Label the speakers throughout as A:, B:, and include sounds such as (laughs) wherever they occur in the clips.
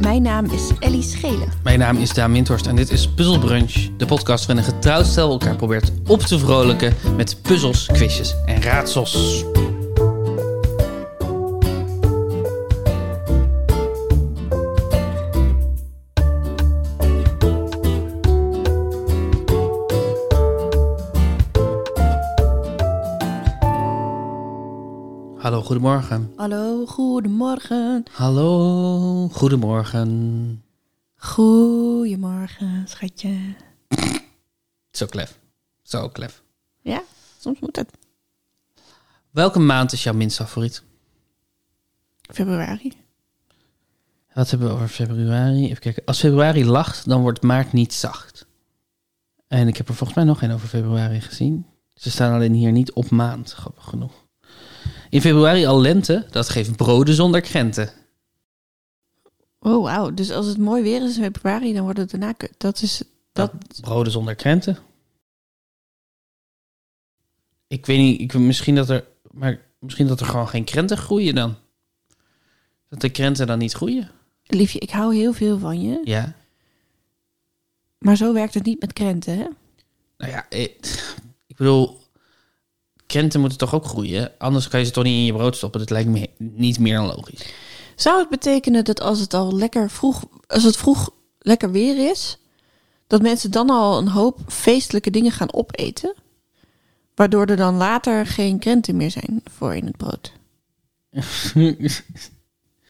A: Mijn naam is Ellie Schelen.
B: Mijn naam is Daan Windhorst en dit is Puzzle Brunch, de podcast waarin een getrouwd stel elkaar probeert op te vrolijken met puzzels, quizjes en raadsels. Hallo, goedemorgen.
A: Hallo, goedemorgen.
B: Hallo, goedemorgen.
A: Goedemorgen, schatje.
B: Zo klef. Zo klef.
A: Ja, soms moet het.
B: Welke maand is jouw minst favoriet?
A: Februari.
B: Wat hebben we over februari? Even kijken. Als februari lacht, dan wordt maart niet zacht. En ik heb er volgens mij nog geen over februari gezien. Ze staan alleen hier niet op maand, grappig genoeg. In februari al lente, dat geeft broden zonder krenten.
A: Oh, wauw. Dus als het mooi weer is in februari, dan wordt het daarna kut. Dat is... Dat...
B: Broden zonder krenten. Ik weet niet, ik, misschien, dat er, maar misschien dat er gewoon geen krenten groeien dan. Dat de krenten dan niet groeien.
A: Liefje, ik hou heel veel van je.
B: Ja.
A: Maar zo werkt het niet met krenten, hè?
B: Nou ja, eh, ik bedoel, krenten moeten toch ook groeien? Anders kan je ze toch niet in je brood stoppen. Dat lijkt me he- niet meer dan logisch.
A: Zou het betekenen dat als het al lekker vroeg... Als het vroeg lekker weer is... Dat mensen dan al een hoop feestelijke dingen gaan opeten? Waardoor er dan later geen krenten meer zijn voor in het brood.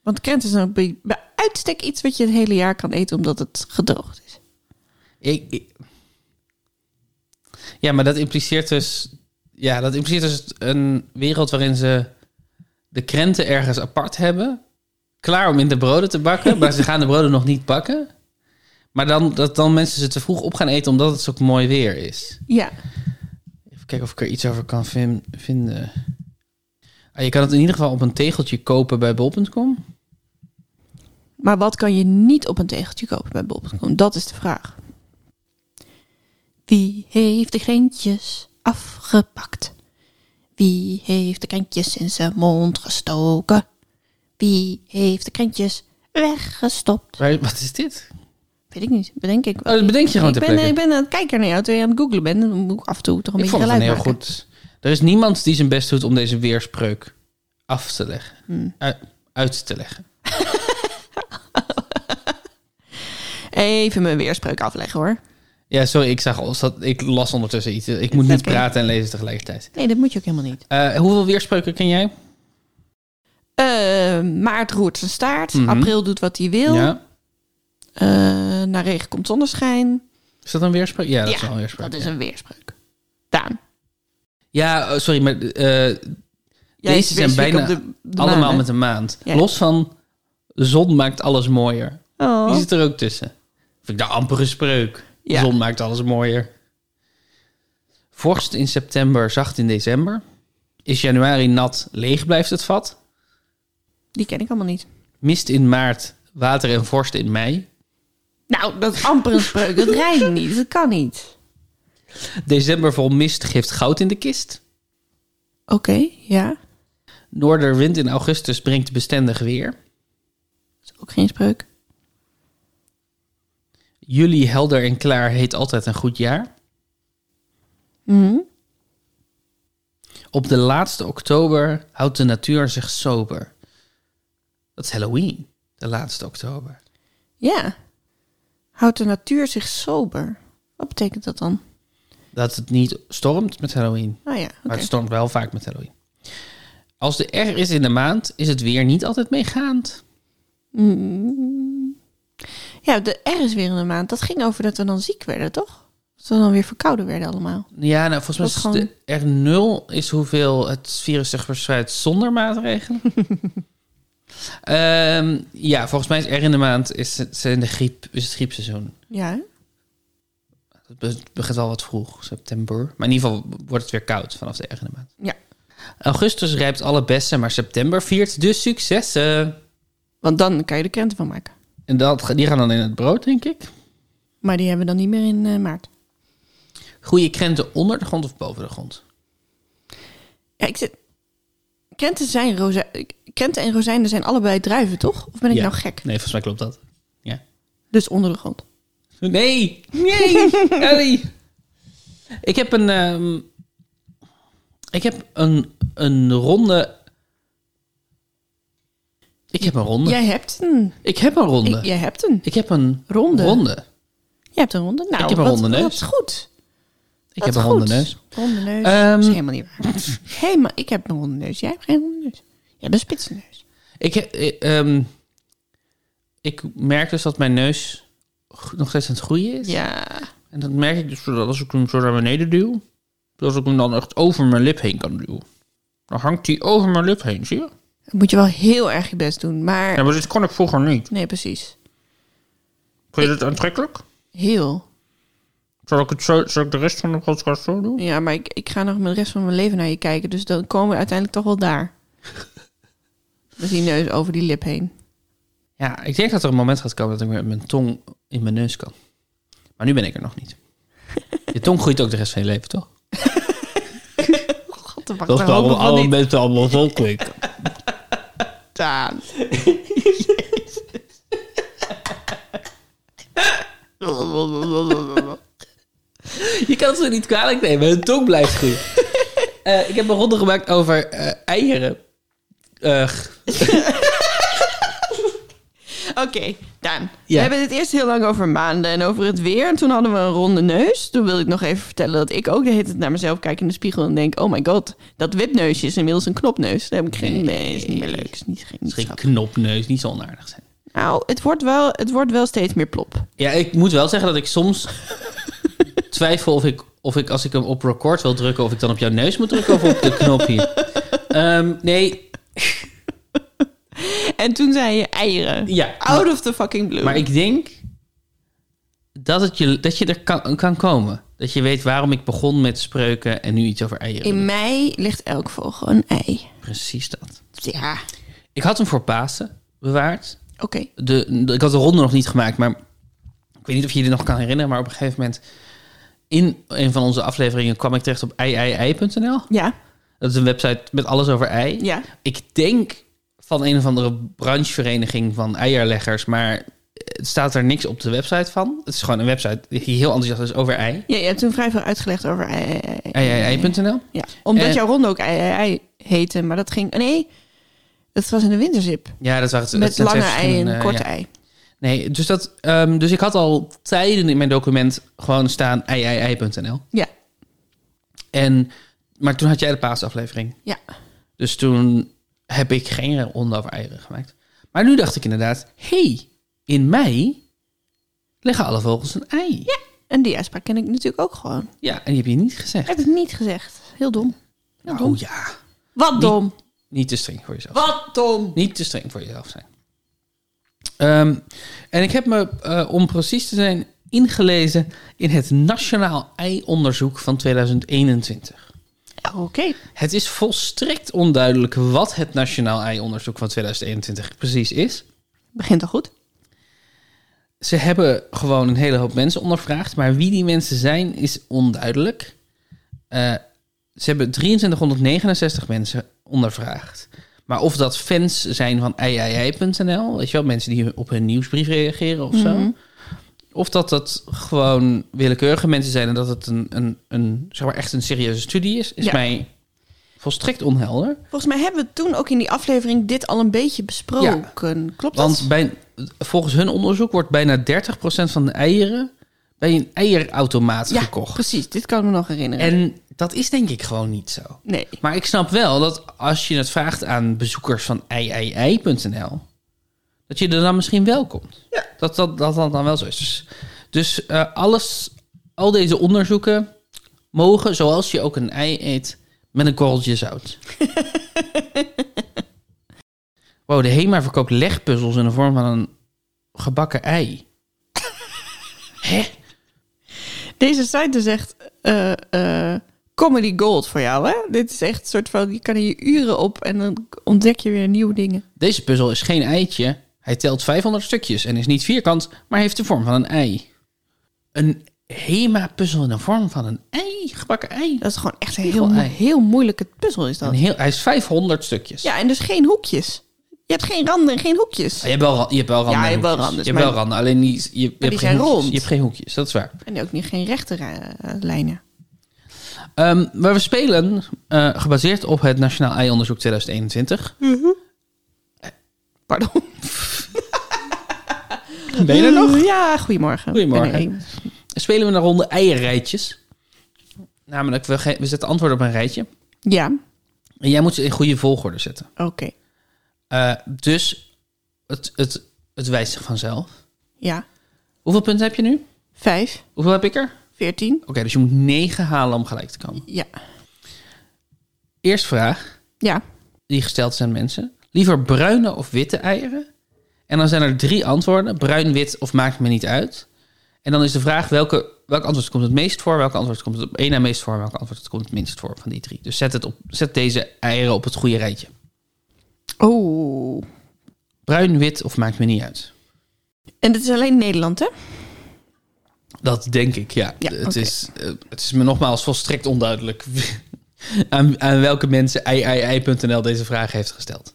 A: Want krent is een bij bij uitstek iets wat je het hele jaar kan eten omdat het gedroogd is.
B: ik, ik- Ja, maar dat impliceert dus... Ja, dat impliceert dus een wereld waarin ze de krenten ergens apart hebben. Klaar om in de broden te bakken, maar ze gaan de broden nog niet bakken. Maar dan, dat dan mensen ze te vroeg op gaan eten omdat het zo mooi weer is.
A: Ja.
B: Even kijken of ik er iets over kan vin- vinden. Ah, je kan het in ieder geval op een tegeltje kopen bij bol.com.
A: Maar wat kan je niet op een tegeltje kopen bij bol.com? Dat is de vraag. Wie heeft de krentjes afgepakt? Wie heeft de krentjes in zijn mond gestoken? Wie heeft de krentjes weggestopt?
B: Waar- (laughs) Wat is dit?
A: Weet ik niet, bedenk ik wel.
B: Oh, dat bedenk je gewoon
A: ik,
B: ter
A: ben,
B: plekke.
A: ik ben aan het kijken naar jou, terwijl je aan het googlen bent. Dan moet ik af en toe toch een
B: Ik
A: beetje
B: vond het
A: geluid
B: een heel
A: maken.
B: goed. Er is niemand die zijn best doet om deze weerspreuk af te leggen.
A: Hmm.
B: Uit, uit te leggen.
A: Even mijn weerspreuk afleggen hoor.
B: Ja, sorry, ik, zag, al- zat- ik las ondertussen iets. Ik moet niet
A: oké.
B: praten en lezen tegelijkertijd.
A: Nee, dat moet je ook helemaal niet.
B: Eh, hoeveel weerspreuken ken jij?
A: Eh, maart roert zijn staart.
B: Mhm.
A: April doet wat hij wil.
B: Ja.
A: Eh, naar regen komt zonneschijn.
B: Is dat een weerspreuk? Ja, dat
A: Ja,
B: is wel een weerspreuk.
A: Dat is
B: ja.
A: een weerspreuk. Daan.
B: Ja, eh, sorry, maar eh,
A: jij
B: Deze zijn
A: is specifiek
B: bijna
A: op de- de
B: allemaal
A: maan, hè?
B: met een maand.
A: Ja.
B: Los van zon maakt alles mooier.
A: Oh.
B: Die zit er ook tussen. Vind ik de ampere spreuk. De
A: Ja.
B: zon maakt alles mooier. Vorst in september, zacht in december. Is januari nat, leeg blijft het vat.
A: Die ken ik allemaal niet.
B: Mist in maart, water en vorst in mei.
A: Nou, dat is amper een spreuk. dat
B: (laughs)
A: rijmt niet. Dat kan niet.
B: December vol mist geeft goud in de kist.
A: Oké, ja.
B: Noorderwind in augustus brengt bestendig weer.
A: Dat is ook geen spreuk.
B: Juli helder en klaar heet altijd een goed jaar.
A: Mhm.
B: Op de laatste oktober houdt de natuur zich sober. Dat is Halloween, de laatste oktober.
A: Ja. Houdt de natuur zich sober? Wat betekent dat dan?
B: Dat het niet stormt met Halloween.
A: Nou ja, oké.
B: Maar het stormt wel vaak met Halloween. Als de R is in de maand, is het weer niet altijd meegaand.
A: Mm. Ja, de R is weer in de maand. Dat ging over dat we dan ziek werden, toch? Dat we dan weer verkouden werden allemaal.
B: Ja, nou, volgens mij is
A: Dat gewoon-
B: de R0 is hoeveel het virus zich verspreidt
A: (laughs)
B: zonder maatregelen. Ehm, ja, volgens mij is R in de maand is het, zijn de griep, is het griepseizoen.
A: Ja, hè?
B: Het be- begint al wat vroeg, september. Maar in ieder geval wordt het weer koud vanaf de R in de maand.
A: ja.
B: Augustus rijpt alle bessen, maar september viert de successen.
A: Want dan kan je er krenten van maken.
B: En dat, die gaan dan in het brood, denk ik.
A: Maar die hebben we dan niet meer in eh, maart.
B: Groeien krenten onder de grond of boven de grond?
A: Ja, ik zit... Krenten, zijn roze... krenten en rozijnen zijn allebei druiven, toch? Of ben ik
B: Ja.
A: nou gek?
B: Nee, volgens mij klopt dat.
A: Dus onder de grond.
B: Nee! Nee! (laughs) Ellie! Ik heb een... ehm, ik heb een, een ronde... Ik heb een ronde.
A: Jij hebt een.
B: Ik heb een ronde.
A: Ik- jij hebt een
B: Ik heb een
A: ronde.
B: ronde.
A: Jij hebt een ronde. Nou,
B: Ik heb een
A: wat-
B: ronde neus.
A: Dat is goed.
B: Ik heb een ronde neus.
A: Ronde neus.
B: Ehm,
A: is helemaal niet
B: (laughs)
A: waar. helemaal, ik heb een ronde neus. Jij hebt geen ronde neus. Jij hebt een spitse neus.
B: Ik, he- eh, ehm, ik merk dus dat mijn neus g- nog steeds aan het groeien is.
A: Ja.
B: En dat merk ik dus doordat als ik hem zo naar beneden duw, dat ik hem dan echt over mijn lip heen kan duwen. Dan hangt hij over mijn lip heen, zie je?
A: Dan moet je wel heel erg je best doen. Maar
B: Ja, maar dit kon ik vroeger niet.
A: nee, precies.
B: Vind je dit aantrekkelijk?
A: Heel.
B: Zal ik, het zo, zal ik de rest van de podcast zo doen?
A: Ja, maar ik, ik ga nog mijn rest van mijn leven naar je kijken. Dus dan komen we uiteindelijk toch wel daar. (laughs) Met die neus over die lip heen.
B: Ja, ik denk dat er een moment gaat komen dat ik weer met mijn tong in mijn neus kan. Maar nu ben ik er nog (laughs) niet. Je tong groeit ook de rest van je leven, toch?
A: God, de
B: Dat is waarom alle mensen allemaal zo klinken.
A: aan.
B: (laughs)
A: (laughs)
B: Je kan het zo niet kwalijk nemen. Hun tong blijft groeien. (laughs) Eh, ik heb een ronde gemaakt over eh, eieren. Eh,
A: Oké, Daan. We
B: Ja.
A: hebben het eerst heel lang over maanden en over het weer. En toen hadden we een ronde neus. Toen wilde ik nog even vertellen dat ik ook de hele tijd naar mezelf kijk in de spiegel en denk... Oh my god, dat wipneusje is inmiddels een knopneus. Daar heb ik geen... Nee, is niet meer leuk. Is niet, geen, niet
B: misschien
A: grappig.
B: knopneus, niet zo onaardig zijn.
A: Nou, het wordt, wel, het wordt wel steeds meer plop.
B: Ja, ik moet wel zeggen dat ik soms twijfel of ik, of ik als ik hem op record wil drukken, of ik dan op jouw neus moet drukken of op de knop hier. Ehm, nee,
A: En toen zei je eieren.
B: ja.
A: Out of the fucking blue.
B: Maar ik denk dat, het je, dat je er kan, kan komen. Dat je weet waarom ik begon met spreuken en nu iets over eieren.
A: In mei ligt elk vogel een ei.
B: Precies dat.
A: Ja,
B: Ik had hem voor Pasen bewaard.
A: oké.
B: de, de- ik had de ronde nog niet gemaakt, maar ik weet niet of je je dit nog kan herinneren, maar op een gegeven moment in een van onze afleveringen kwam ik terecht op eiei.nl.
A: Ja,
B: Dat is een website met alles over ei.
A: ja.
B: Ik denk van een of andere branchevereniging van eierleggers, maar het staat er niks op de website van. Het is gewoon een website die heel enthousiast is over ei.
A: Ja, je hebt toen vrij veel uitgelegd over ei, ei, ei, ei.
B: eiei.nl.
A: Ja, omdat
B: Eh,
A: jouw ronde ook ei, ei, ei heette, maar dat ging... Nee, dat was in de winterzip.
B: Ja, dat waren het. dat
A: Met
B: zijn twee
A: lange ei
B: verschillende,
A: en
B: eh,
A: korte
B: ja.
A: ei.
B: Nee, dus, dat, ehm, dus ik had al tijden in mijn document gewoon staan eiei.nl.
A: Ja,
B: En, maar toen had jij de paasaflevering.
A: ja.
B: Dus toen heb ik geen ronde over eieren gemaakt. Maar nu dacht ik inderdaad, hey, in mei leggen alle vogels een ei. Ja.
A: En die uitspraak ken ik natuurlijk ook gewoon.
B: en die heb je niet
A: Ik
B: gezegd.
A: heb het niet gezegd. Heel dom. Heel dom.
B: Oh ja.
A: Wat dom.
B: Niet te streng voor jezelf.
A: Wat dom.
B: Niet te streng voor jezelf zijn. Ehm, en ik heb me, eh, om precies te zijn, ingelezen in het Nationaal Ei-onderzoek van 2021.
A: Oké.
B: Het is volstrekt onduidelijk wat het Nationaal Ei-onderzoek van 2021 precies is.
A: Begint al goed.
B: Ze hebben gewoon een hele hoop mensen ondervraagd, maar wie die mensen zijn is onduidelijk. Eh, ze hebben 2369 mensen ondervraagd. Maar of dat fans zijn van iii.nl, weet je wel, mensen die op hun nieuwsbrief reageren of zo. Of dat dat gewoon willekeurige mensen zijn en dat het een, een, een zeg maar echt een serieuze studie is, is
A: Ja.
B: mij volstrekt onhelder.
A: Volgens mij hebben we toen ook in die aflevering dit al een beetje besproken. Klopt
B: Want
A: dat?
B: bij, volgens hun onderzoek wordt bijna 30% van de eieren bij een eierautomaat
A: Ja,
B: gekocht.
A: precies. Dit kan ik me nog herinneren.
B: En dat is denk ik gewoon niet zo.
A: Nee.
B: Maar ik snap wel dat als je het vraagt aan bezoekers van iii.nl, dat je er dan misschien wel komt.
A: Ja.
B: Dat, dat, dat dat dan wel zo is. Dus, dus, eh, alles, al deze onderzoeken mogen, zoals je ook een ei eet, met een korreltje zout. wow, de HEMA verkoopt legpuzzels in de vorm van een gebakken ei. Hè?
A: Deze site is echt eh, eh, comedy gold voor jou, hè? Dit is echt een soort van, je kan hier uren op en dan ontdek je weer nieuwe dingen.
B: Deze puzzel is geen eitje. Hij telt 500 stukjes en is niet vierkant, maar heeft de vorm van een ei. Een Hema-puzzel in de vorm van een ei? Gebakken ei?
A: Dat is gewoon echt een
B: Heel
A: heel, mo-
B: ei.
A: heel moeilijke puzzel is dat.
B: Een heel, hij is 500 stukjes.
A: Ja, en dus geen hoekjes. Je hebt geen randen en geen hoekjes.
B: Je hebt wel, ra- je hebt wel randen.
A: Ja, je hebt wel
B: en hoekjes.
A: randen,
B: Je hebt wel
A: maar-
B: randen, alleen niet, je, je, hebt
A: die
B: geen
A: zijn
B: hoekjes.
A: rond.
B: je hebt geen hoekjes, dat is waar.
A: En ook niet geen rechte eh, lijnen.
B: Ehm, maar we spelen eh, gebaseerd op het Nationaal Ei-onderzoek 2021.
A: Pardon. Hmm.
B: Ben je er nog?
A: Ja, goedemorgen.
B: Goedemorgen.
A: Ben er.
B: Spelen we naar ronde eierenrijtjes. Namelijk, we, ge- we zetten antwoorden op een rijtje.
A: Ja,
B: En jij moet ze in goede volgorde zetten.
A: oké.
B: Eh, dus het, het, het wijst zich vanzelf.
A: Ja.
B: Hoeveel punten heb je nu?
A: Vijf,
B: Hoeveel heb ik er? Oké,
A: veertien.
B: dus je moet 9 halen om gelijk te komen.
A: Ja.
B: Eerst vraag
A: Ja.
B: die gesteld zijn aan mensen. Liever bruine of witte eieren? En dan zijn er drie antwoorden. Bruin, wit of maakt me niet uit. En dan is de vraag welke, welk antwoord komt het meest voor? Welke antwoord komt het op één na meest voor? Welke antwoord komt het minst voor van die drie? Dus zet, het op, zet deze eieren op het goede rijtje.
A: Oh.
B: Bruin, wit of maakt me niet uit.
A: En dit is alleen Nederland, hè?
B: Dat denk ik, ja.
A: Ja,
B: het,
A: oké.
B: is, eh, het is me nogmaals volstrekt onduidelijk (laughs) aan, aan welke mensen iii.nl deze vraag heeft gesteld.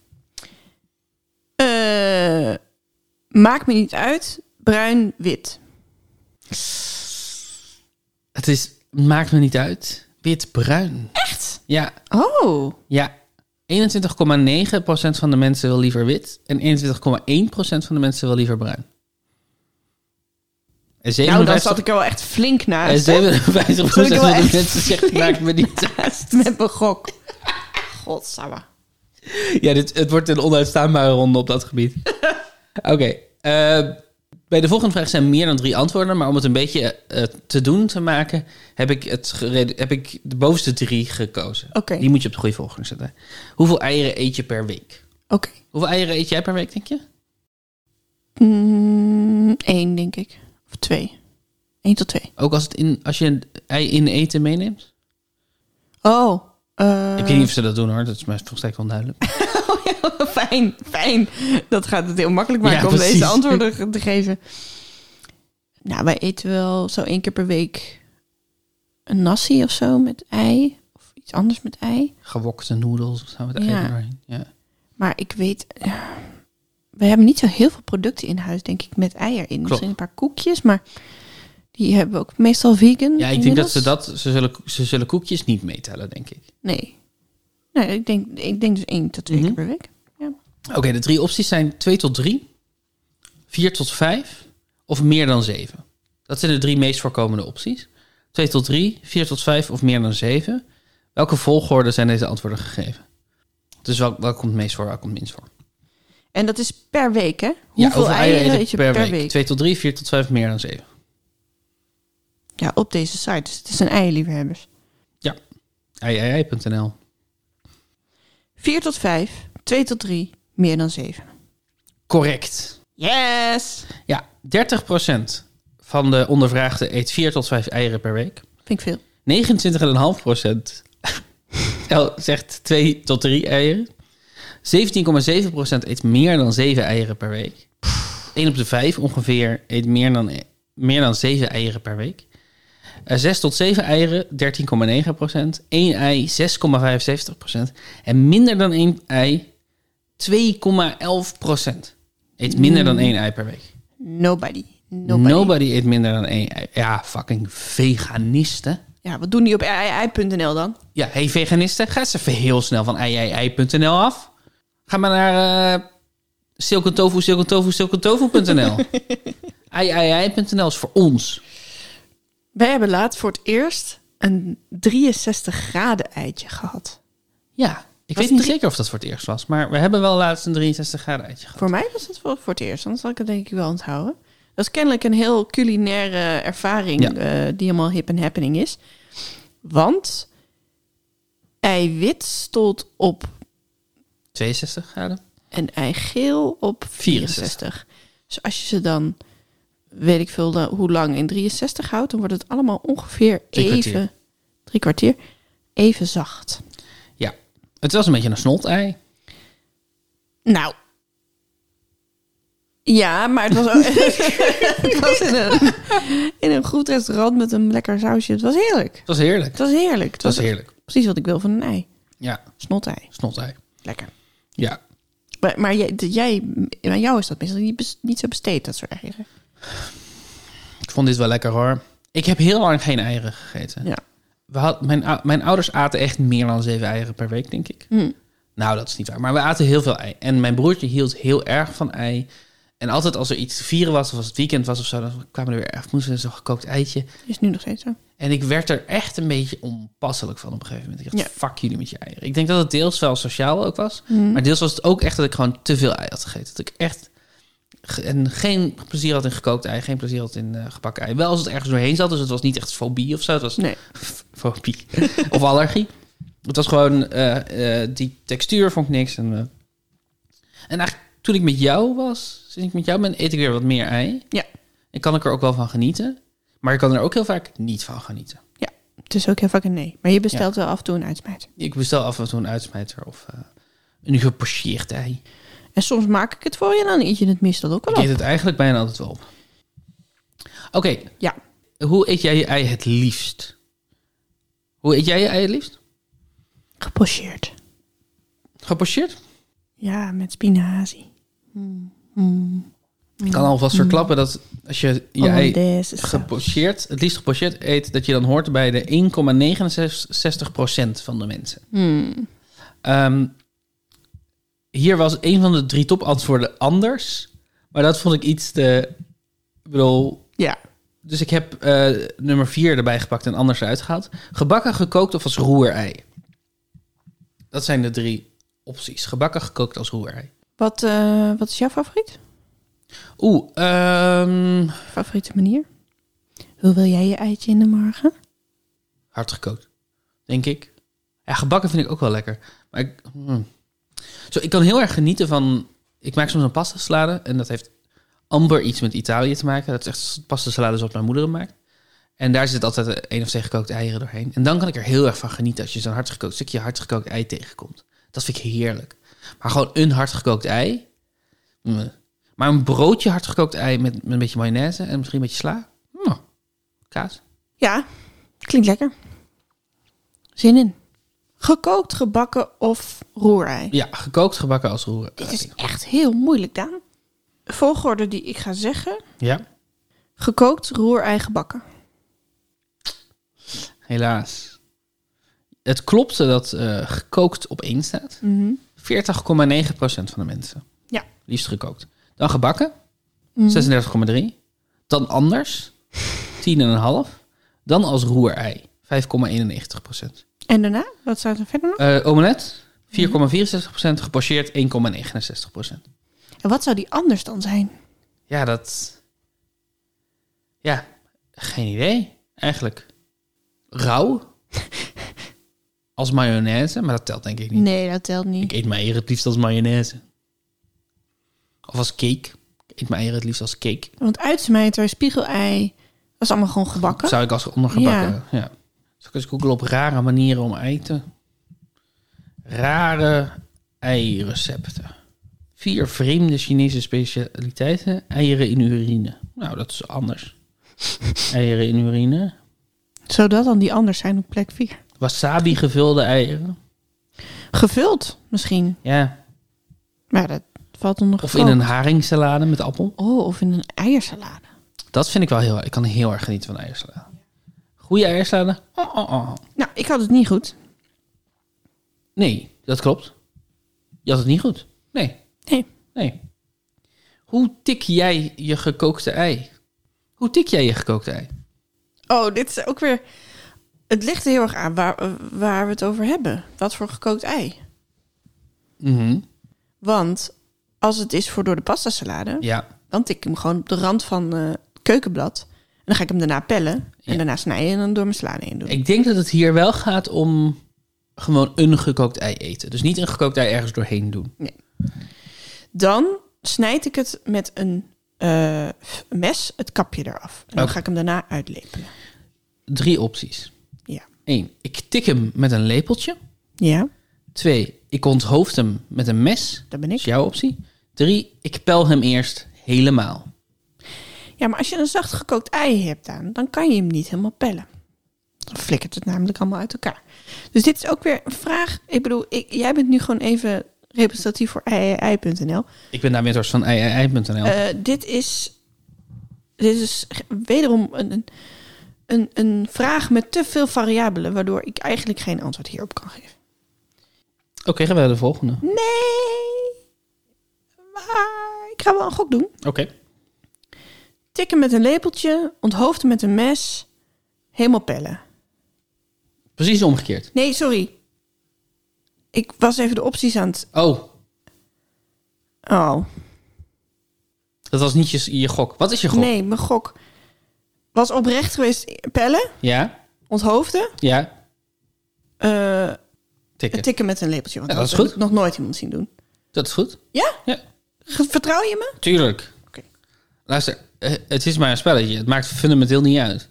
A: Eh, maakt me niet uit. Bruin, wit.
B: Het is, maakt me niet uit, wit-bruin.
A: Echt?
B: Ja,
A: Oh.
B: ja. 21,9% van de mensen wil liever wit en 21,1% van de mensen wil liever bruin. En 57,
A: Nou, dan zat ik er wel echt flink
B: en
A: naast.
B: 57
A: Zat ik wel
B: van de
A: echt-
B: mensen zegt, maakt me (laughs) niet uit.
A: naast (laughs) met mijn gok. Godsamme.
B: Ja, dit, het wordt een onuitstaanbare ronde op dat gebied.
A: (laughs)
B: Oké. eh, bij de volgende vraag zijn meer dan drie antwoorden. Maar om het een beetje eh, te doen te maken, heb ik, het gerede- heb ik de bovenste drie gekozen.
A: Oké.
B: Die moet je op de goede volgorde zetten. Hoeveel eieren eet je per week?
A: Oké.
B: Hoeveel eieren eet jij per week, denk je?
A: Mm, Eén, denk ik. Of twee. Eén tot twee.
B: Ook als, het in, als je een ei in eten meeneemt?
A: Oh. eh,
B: Ik weet niet of ze dat doen hoor, dat is mij volstrekt
A: (laughs)
B: onduidelijk.
A: fijn, fijn. Dat gaat het heel makkelijk maken
B: Ja,
A: om
B: precies.
A: deze antwoorden ge- te geven. Nou, wij eten wel zo één keer per week een nasi of zo met ei. Of iets anders met ei.
B: Gewokte noedels of zo met
A: Ja. Mm,
B: eieren erin. Ja.
A: Maar ik weet... eh, We hebben niet zo heel veel producten in huis, denk ik, met ei erin. Misschien een paar koekjes, maar die hebben we ook meestal vegan.
B: ja, ik denk
A: inmiddels.
B: dat ze dat, ze zullen, ze zullen koekjes niet meetellen, denk ik.
A: Nee. Nee, ik denk, ik denk dus één tot twee
B: Mhm.
A: keer per week. Ja.
B: Oké, de drie opties zijn 2 tot 3, 4 tot 5 of meer dan 7. Dat zijn de drie meest voorkomende opties. 2 tot 3, 4 tot 5 of meer dan 7. Welke volgorde zijn deze antwoorden gegeven? Dus wel, welke komt het meest voor, welke komt het minst voor?
A: En dat is per week, hè?
B: Ja,
A: Hoeveel
B: hoeveel
A: eieren
B: eet
A: eet je per, week?
B: 2 tot 3, 4 tot 5, meer dan 7.
A: Ja, op deze site. Dus het is een eierliefhebbers.
B: Eieiei.nl.
A: 4 tot 5, 2 tot 3, meer dan 7.
B: Correct.
A: Yes!
B: Ja, 30% van de ondervraagden eet 4 tot 5 eieren per week.
A: Vind ik veel.
B: 29,5 procent (laughs) zegt 2 tot 3 eieren. 17,7 eet meer dan 7 eieren per week. 1 op de 5 ongeveer eet meer dan, meer dan 7 eieren per week. 6 tot 7 eieren, 13,9 1 ei, 6,75 En minder dan 1 ei, 2,11 Eet minder dan 1 ei per week.
A: Nobody. Nobody.
B: Nobody. eet minder dan 1 ei. Ja, fucking veganisten.
A: Ja, wat doen die op ei.nl dan?
B: Ja, hey veganisten, ga eens even heel snel van iii.nl af. Ga maar naar eh silken tofu, silken tofu, silken tofu.nl. (laughs) iii.nl is voor ons.
A: Wij hebben laatst voor het eerst een 63 graden eitje gehad.
B: Ja, ik
A: Was
B: weet niet
A: drie-
B: zeker of dat voor het eerst was, maar we hebben wel laatst een 63 graden eitje gehad.
A: Voor mij was het voor, voor het eerst, anders had ik het denk ik wel onthouden. Dat is kennelijk een heel culinaire ervaring
B: Ja.
A: eh, die helemaal hip en happening is. Want eiwit stond op
B: 62 graden?
A: en eigeel op
B: 64.
A: 64. Dus als je ze dan, weet ik veel dan, hoe lang in 63 houdt, dan wordt het allemaal ongeveer
B: Drie
A: even,
B: kwartier.
A: drie kwartier, even zacht.
B: Ja. Het was een beetje een snot-ei.
A: Nou. Ja, maar het was,
B: (laughs)
A: ook- het was in, een, in een goed restaurant met een lekker sausje. Het was heerlijk.
B: Het was heerlijk.
A: Het was heerlijk. Het
B: Het was
A: was
B: heerlijk.
A: precies wat ik wil van een ei.
B: Ja,
A: Snot-ei.
B: snot-ei.
A: Lekker.
B: Ja.
A: Maar, maar jij, jij, aan jou is dat meestal niet, bes- niet zo besteed, dat soort eieren.
B: Ik vond dit wel lekker hoor. Ik heb heel lang geen eieren gegeten.
A: Ja.
B: We had, mijn, ou- mijn ouders aten echt meer dan zeven eieren per week, denk ik.
A: Hm.
B: Nou, dat is niet waar. Maar we aten heel veel ei. En mijn broertje hield heel erg van ei. En altijd als er iets te vieren was, of als het weekend was of zo, dan kwamen er weer echt moesten zo'n gekookt eitje.
A: Is nu nog steeds zo.
B: En ik werd er echt een beetje onpasselijk van op een gegeven moment. Ik dacht, fuck jullie met je eieren. Ik denk dat het deels wel sociaal ook was. Maar deels was het ook echt dat ik gewoon te veel ei had gegeten. Dat ik echt ge- en geen plezier had in gekookt ei, geen plezier had in eh, gebakken ei. Wel als het ergens doorheen zat, dus het was niet echt fobie of zo. Het was
A: Nee.
B: fobie of allergie. Het was gewoon, eh, eh, die textuur vond ik niks. En, eh, en eigenlijk toen ik met jou was, sinds ik met jou ben, eet ik weer wat meer ei.
A: Ja.
B: En kan ik er ook wel van genieten. Maar ik kan er ook heel vaak niet van genieten.
A: Het is ook heel vaak een nee. Maar je bestelt wel af en toe een uitsmijter.
B: Ik bestel af en toe een uitsmijter of eh, een gepocheerd ei.
A: En soms maak ik het voor je en dan eet je het meestal ook
B: Ik
A: wel
B: eet
A: op.
B: het eigenlijk bijna altijd wel op. Oké,
A: Ja.
B: hoe eet jij je ei het liefst? Hoe eet jij je ei het liefst?
A: Gepocheerd.
B: Gepocheerd?
A: Ja, met spinazie.
B: Ik kan alvast verklappen dat als je
A: Oh,
B: je ei
A: Hollandaise saus.
B: gepocheerd, het liefst gepocheerd eet, dat je dan hoort bij de 1,69% van de mensen.
A: Hmm.
B: Ehm, hier was een van de drie topantwoorden anders, maar dat vond ik iets te... Ik bedoel,
A: Ja.
B: Dus ik heb eh, nummer 4 erbij gepakt en anders uitgehaald. Gebakken, gekookt of als roerei. Dat zijn de drie opties. Gebakken, gekookt als roerei.
A: Wat, eh, wat is jouw favoriet?
B: Oeh, ehm,
A: Favoriete manier? Hoe wil jij je eitje in de morgen?
B: hard gekookt, denk ik. Ja, gebakken vind ik ook wel lekker. Maar ik, hmm. Zo, ik kan heel erg genieten van... Ik maak soms een pasta salade en dat heeft amper iets met Italië te maken. Dat is echt pasta salade zoals mijn moeder hem maakt. En daar zit altijd eh, één of twee gekookte eieren doorheen. En dan kan ik er heel erg van genieten als je zo'n hardgekookt stukje hardgekookt ei tegenkomt. Dat vind ik heerlijk. Maar gewoon een hardgekookt ei. mm. Maar een broodje hardgekookt ei met, met een beetje mayonaise en misschien een beetje sla. Mm. Kaas.
A: Ja, klinkt lekker. Zin in. Gekookt, gebakken of roerei?
B: Ja, gekookt, gebakken als roeren.
A: Dit is echt heel moeilijk, Daan. Volgorde die ik ga zeggen.
B: Ja,
A: Gekookt, roerei, gebakken.
B: helaas. Het klopte dat eh, gekookt op één staat.
A: Mhm.
B: 40,9% van de mensen.
A: Ja.
B: Liefst gekookt. Dan gebakken,
A: Mhm.
B: 36,3. Dan anders, 10,5. Dan als roerei, 5,91%.
A: En daarna? Wat staat er verder nog?
B: Eh omelet,
A: Mm.
B: 4,64%. Gepocheerd, 1,69%.
A: En wat zou die anders dan zijn?
B: Ja, dat... Ja, geen idee. Eigenlijk rauw. als mayonaise, maar dat telt denk ik niet.
A: Nee, dat telt niet.
B: Ik eet mijn eieren het liefst als mayonaise. Of als cake. Ik eet mijn eieren het liefst als cake.
A: Want uitsmijter, spiegelei, dat is allemaal gewoon gebakken.
B: Zou ik als ondergebakken. Ja. Dus ik eens googelen op rare manieren om ei te... Rare eirecepten. Vier vreemde Chinese specialiteiten. Eieren in urine. Nou, dat is anders. eieren in urine.
A: Zou dat dan die anders zijn op plek 4?
B: Wasabi gevulde eieren.
A: Gevuld misschien.
B: Ja.
A: Maar dat valt onder
B: Of in een haringsalade met appel.
A: Oh, of in een eiersalade.
B: Dat vind ik wel heel... Ik kan heel erg genieten van eiersalade. Goede eiersalade? Oh, oh, oh.
A: Nou, ik had het niet goed.
B: Nee, dat klopt. Je had het niet goed. Nee,
A: Nee.
B: nee. Hoe tik jij je gekookte ei? Hoe tik jij je gekookte ei?
A: Oh, dit is ook weer... Het ligt er heel erg aan waar, eh, waar we het over hebben. Wat voor gekookt ei. Want als het is voor door de pastasalade...
B: Ja,
A: dan tik ik hem gewoon op de rand van eh, het keukenblad. En dan ga ik hem daarna pellen. En
B: Ja.
A: daarna snijden en dan door mijn slaan heen doen.
B: ik denk dat het hier wel gaat om gewoon een gekookt ei eten. Dus niet een gekookt ei ergens doorheen doen.
A: Dan snijd ik het met een eh, f- mes het kapje eraf. En dan
B: Oké.
A: ga ik hem daarna uitlepelen.
B: Drie opties.
A: Ja.
B: Eén, ik tik hem met een lepeltje.
A: Ja,
B: Twee, ik onthoofd hem met een mes.
A: dat ben
B: Dat is
A: ik.
B: jouw optie. Drie, ik pel hem eerst helemaal.
A: Ja, maar als je een zacht gekookt ei hebt aan, dan kan je hem niet helemaal pellen. Dan flikkert het namelijk allemaal uit elkaar. Dus dit is ook weer een vraag. Ik bedoel, ik, jij bent nu gewoon even representatief voor iii.nl.
B: Ik ben daar mentors van iii.nl.
A: Eh, dit is. Dit is ge- wederom een, een- een, een vraag met te veel variabelen, waardoor ik eigenlijk geen antwoord hierop kan geven.
B: Oké, gaan we naar de volgende.
A: Nee! Maar ik ga wel een gok doen.
B: Oké.
A: Tikken met een lepeltje, onthoofden met een mes, helemaal pellen.
B: Precies omgekeerd.
A: Nee, sorry. Ik was even de opties aan het.
B: Oh,
A: Oh,
B: dat was niet je, je gok. Wat is je gok?
A: nee, mijn gok was oprecht geweest. Pellen,
B: Ja,
A: onthoofden,
B: ja,
A: eh,
B: tikken.
A: tikken met een lepeltje. Want
B: Ja,
A: dat
B: dat is
A: heb
B: goed.
A: ik nog nooit iemand zien doen.
B: Dat is goed.
A: Ja?
B: Ja,
A: Ge- Vertrouw je me?
B: tuurlijk.
A: Oké.
B: Luister, eh, het is maar een spelletje. Het maakt fundamenteel niet uit.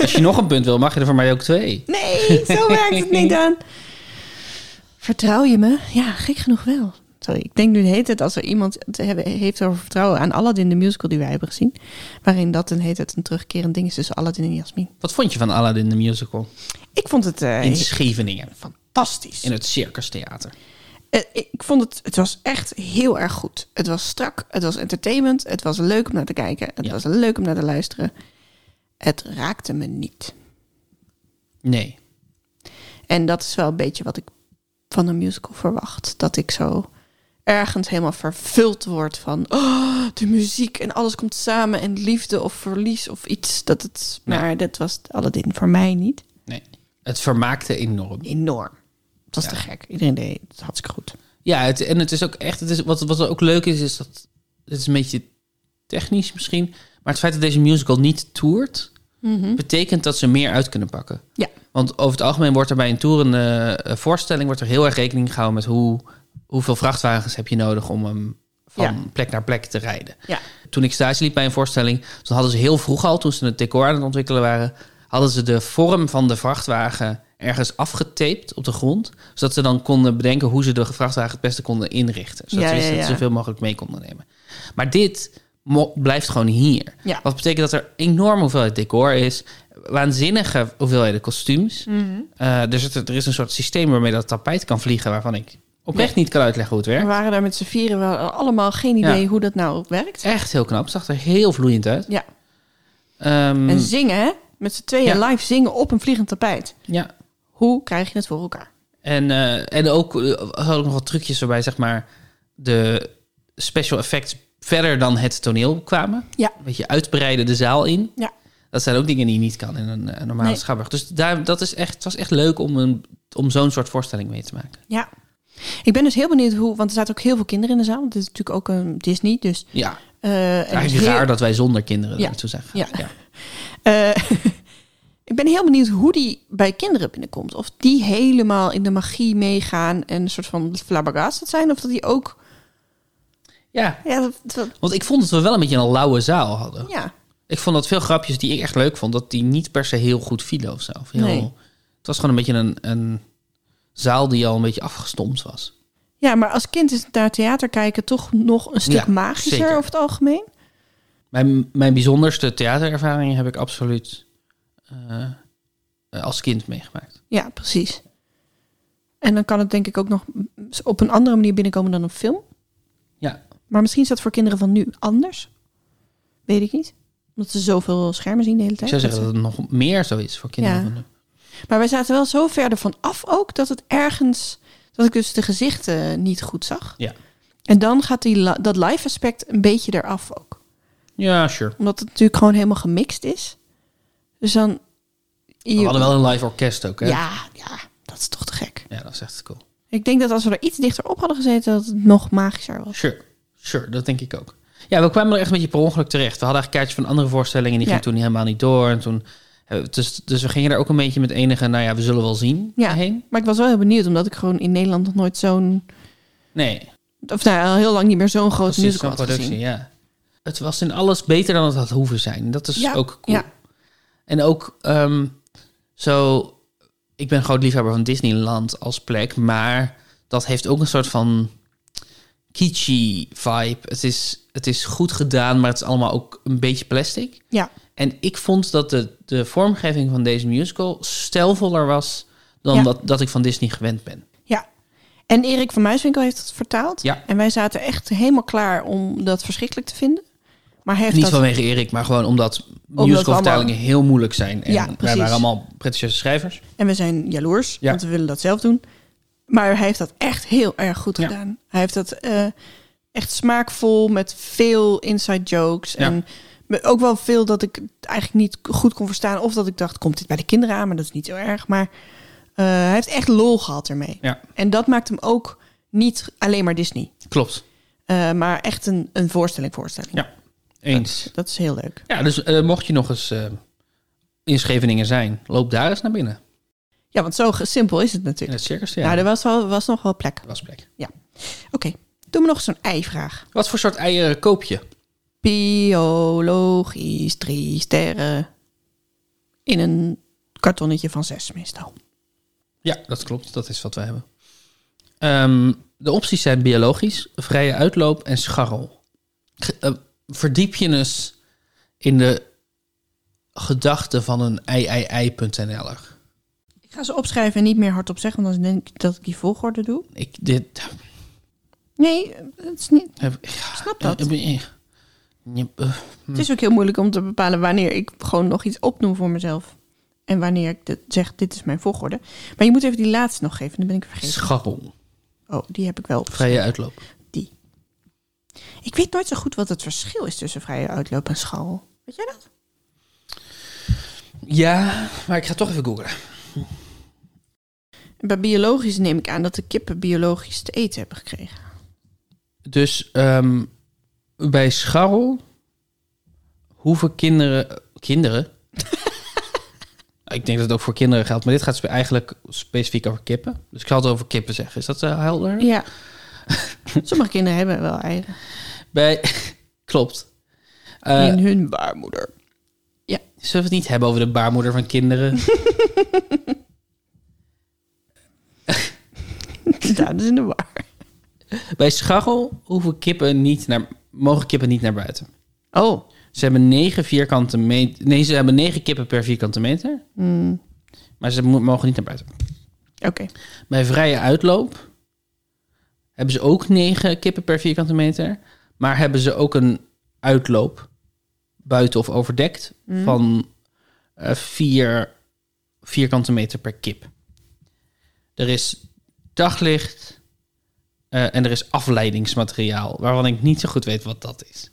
B: Als je nog een punt wil, mag je er voor mij ook twee.
A: Nee, zo werkt het niet aan. Vertrouw je me? Ja, gek genoeg wel. Sorry, ik denk nu de hele tijd als er iemand het hebben- heeft over vertrouwen aan Aladdin, de musical die wij hebben gezien. Waarin dat een hele tijd een terugkerend ding is tussen Aladdin en Jasmin.
B: Wat vond je van Aladdin de Musical?
A: Ik vond het eh,
B: In Scheveningen,
A: fantastisch.
B: in het Circus Theater.
A: Eh, ik vond het, het was echt heel erg goed. Het was strak, het was entertainment, het was leuk om naar te kijken, het
B: Ja.
A: was leuk om naar te luisteren. Het raakte me niet.
B: Nee.
A: En dat is wel een beetje wat ik van een musical verwacht. Dat ik zo ergens helemaal vervuld word van oh, de muziek en alles komt samen en liefde of verlies of iets. Dat het,
B: Ja.
A: Maar dat was Aladdin voor mij niet.
B: Nee. Het vermaakte enorm.
A: Enorm. Het was te gek. Iedereen deed het hartstikke goed.
B: Ja, het, en het is ook echt. Het is, wat, wat ook leuk is, is dat. Het is een beetje technisch misschien. Maar het feit dat deze musical niet toert. betekent dat ze meer uit kunnen pakken.
A: Ja.
B: Want over het algemeen wordt er bij een toerende eh, voorstelling. wordt er heel erg rekening gehouden met hoe, hoeveel vrachtwagens heb je nodig. om hem van
A: Ja.
B: plek naar plek te rijden.
A: Ja.
B: Toen ik stage liep bij een voorstelling. toen hadden ze heel vroeg al, toen ze het decor aan het ontwikkelen waren. hadden ze de vorm van de vrachtwagen ergens afgetaped op de grond. Zodat ze dan konden bedenken hoe ze de vrachtwagen het beste konden inrichten. Zodat
A: Ja,
B: ze wisten
A: ja,
B: dat
A: ja.
B: ze zoveel mogelijk mee konden nemen. Maar dit mo- blijft gewoon hier.
A: Ja.
B: Wat betekent dat er enorm hoeveelheid decor is. Waanzinnige hoeveelheden kostuums.
A: Mm.
B: Eh, er, zit- er is een soort systeem waarmee dat tapijt kan vliegen... waarvan ik oprecht niet kan uitleggen hoe het
A: We
B: werkt.
A: waren daar met z'n vieren wel allemaal geen idee
B: Ja.
A: hoe dat nou werkt.
B: Echt heel knap. Zag er heel vloeiend uit.
A: Ja.
B: Ehm,
A: En zingen, hè? Met z'n tweeën
B: Ja.
A: live zingen op een vliegend tapijt.
B: ja.
A: Hoe krijg je het voor elkaar?
B: En, eh, en ook, eh, er hadden ook nog wat trucjes waarbij zeg maar, de special effects verder dan het toneel kwamen.
A: Ja.
B: Een beetje uitbreiden de zaal in.
A: Ja.
B: Dat zijn ook dingen die je niet kan in een eh, normale
A: Nee.
B: schouwburg. Dus daar, dat is echt, het was echt leuk om, een, om zo'n soort voorstelling mee te maken.
A: Ja. Ik ben dus heel benieuwd hoe, want er zaten ook heel veel kinderen in de zaal. Want het is natuurlijk ook een Disney, dus.
B: Ja,
A: eh, en
B: eigenlijk
A: heel-
B: raar dat wij zonder kinderen
A: Ja.
B: naartoe zijn gegaan.
A: Ja. eh, (laughs) ik ben heel benieuwd hoe die bij kinderen binnenkomt. Of die helemaal in de magie meegaan en een soort van flabbergasted zijn. Of dat die ook.
B: Ja.
A: Ja, dat- dat-
B: want ik vond dat we wel een beetje een lauwe zaal hadden.
A: ja.
B: Ik vond dat veel grapjes die ik echt leuk vond, dat die niet per se heel goed vielen of zo. Of heel-
A: Nee.
B: Het was gewoon een beetje een, een zaal die al een beetje afgestompt was.
A: ja, maar als kind is het naar theater kijken toch nog een stuk
B: Ja,
A: magischer
B: zeker.
A: over het algemeen.
B: Mijn, mijn bijzonderste theaterervaringen heb ik absoluut eh, als kind meegemaakt.
A: Ja, precies. En dan kan het denk ik ook nog op een andere manier binnenkomen dan een film.
B: Ja,
A: Maar misschien is dat voor kinderen van nu anders. Weet ik niet. Omdat ze zoveel schermen zien de hele
B: ik
A: tijd.
B: zou zeggen dat het nog meer zo is voor kinderen
A: Ja.
B: van nu.
A: Maar wij zaten wel zo ver ervan af ook dat het ergens... dat ik dus de gezichten niet goed zag.
B: Ja.
A: En dan gaat die, li- dat live aspect een beetje eraf ook.
B: Ja, sure.
A: Omdat het natuurlijk gewoon helemaal gemixt is. Dus dan...
B: We hadden wel een live orkest ook, hè?
A: Ja, ja, dat is toch te gek.
B: Ja, dat is echt cool.
A: Ik denk dat als we er iets dichter op hadden gezeten... dat het nog magischer was.
B: Sure, sure, dat denk ik ook. Ja, we kwamen er echt een beetje per ongeluk terecht. We hadden eigenlijk kaartjes van andere voorstellingen en die
A: Ja.
B: gingen toen helemaal niet door. En toen, eh, dus, dus we gingen er ook een beetje met enige, nou ja, we zullen wel zien
A: Ja.
B: heen.
A: Maar ik was wel heel benieuwd, omdat ik gewoon in Nederland nog nooit zo'n...
B: Nee,
A: Of nou, ja, al heel lang niet meer zo'n groot
B: precies
A: musical
B: zo'n
A: had
B: productie,
A: gezien.
B: ja. Het was in alles beter dan het had hoeven zijn. Dat is
A: Ja,
B: ook cool.
A: ja.
B: En ook ehm, zo, ik ben groot liefhebber van Disneyland als plek, maar dat heeft ook een soort van kitschy vibe. Het is, het is goed gedaan, maar het is allemaal ook een beetje plastic.
A: Ja,
B: En ik vond dat de, de vormgeving van deze musical stijlvoller was dan
A: Ja.
B: wat, dat ik van Disney gewend ben.
A: ja. En Erik van Muiswinkel heeft het vertaald.
B: Ja.
A: En wij zaten echt helemaal klaar om dat verschrikkelijk te vinden. Maar hij heeft
B: Niet
A: dat...
B: vanwege Erik, maar gewoon omdat
A: we
B: musicalvertalingen heel moeilijk zijn. En
A: Ja,
B: wij
A: precies.
B: waren allemaal pretentieuze schrijvers.
A: En we zijn jaloers,
B: Ja.
A: want we willen dat zelf doen. Maar hij heeft dat echt heel erg goed
B: Ja.
A: gedaan. Hij heeft dat eh, echt smaakvol met veel inside jokes.
B: Ja.
A: En met ook wel veel dat ik het eigenlijk niet goed kon verstaan. Of dat ik dacht, komt dit bij de kinderen aan? Maar dat is niet zo erg. Maar eh, hij heeft echt lol gehad ermee.
B: Ja.
A: En dat maakt hem ook niet alleen maar Disney.
B: Klopt.
A: eh, maar echt een, een voorstelling voorstelling.
B: Ja. Eens.
A: Dat is heel leuk.
B: Ja, dus eh, mocht je nog eens eh, in Scheveningen zijn, loop daar eens naar binnen.
A: Ja, want zo ge- simpel is het
B: In
A: natuurlijk.
B: het circus
A: Ja, nou, er was, wel, was nog wel plek.
B: Dat was plek.
A: Oké, doe me nog eens een ei-vraag.
B: Wat voor soort eieren koop je?
A: biologisch drie sterren. In een kartonnetje van zes meestal.
B: Ja, dat klopt. Dat is wat we hebben. Ehm, de opties zijn biologisch, vrije uitloop en scharrel. Ge- eh, verdiep je eens in de gedachten van een iii.nl'er.
A: Ik ga ze opschrijven en niet meer hardop zeggen, want dan denk ik dat ik die volgorde doe.
B: Ik dit (laughs)
A: Nee, het is, niet,
B: heb ja,
A: snap dat.
B: eh, eh, je- eh,
A: het is ook heel moeilijk om te bepalen wanneer ik gewoon nog iets opnoem voor mezelf. En wanneer ik dit zeg, dit is mijn volgorde. Maar je moet even die laatste nog geven, dan ben ik vergeten.
B: Scharrel,
A: Oh, die heb ik wel. opgeschreven.
B: vrije uitloop.
A: Die. Ik weet nooit zo goed wat het verschil is tussen vrije uitloop en scharrel. Weet jij dat?
B: Ja, maar ik ga toch even googlen.
A: Bij biologisch neem ik aan dat de kippen biologisch te eten hebben gekregen.
B: Dus ehm, bij scharrel hoeven kinderen... Kinderen? ik denk dat het ook voor kinderen geldt. Maar dit gaat spe- eigenlijk specifiek over kippen. Dus ik zal het over kippen zeggen. Is dat eh, helder?
A: Ja. (laughs) Sommige kinderen hebben wel eieren
B: Bij... (laughs) Klopt. Eh,
A: in hun baarmoeder. (laughs)
B: Zullen we het niet hebben over de baarmoeder van kinderen?
A: Dat is in de war.
B: bij scharrel hoeven kippen niet naar, mogen kippen niet naar buiten.
A: Oh.
B: Ze hebben negen vierkante meter... Nee, ze hebben negen kippen per vierkante meter.
A: Hmm.
B: Maar ze mo- mogen niet naar buiten.
A: Oké.
B: Bij vrije uitloop hebben ze ook 9 kippen per vierkante meter. Maar hebben ze ook een uitloop buiten of overdekt van 4 vierkante meter per kip. Er is daglicht eh, en er is afleidingsmateriaal, waarvan ik niet zo goed weet wat dat is.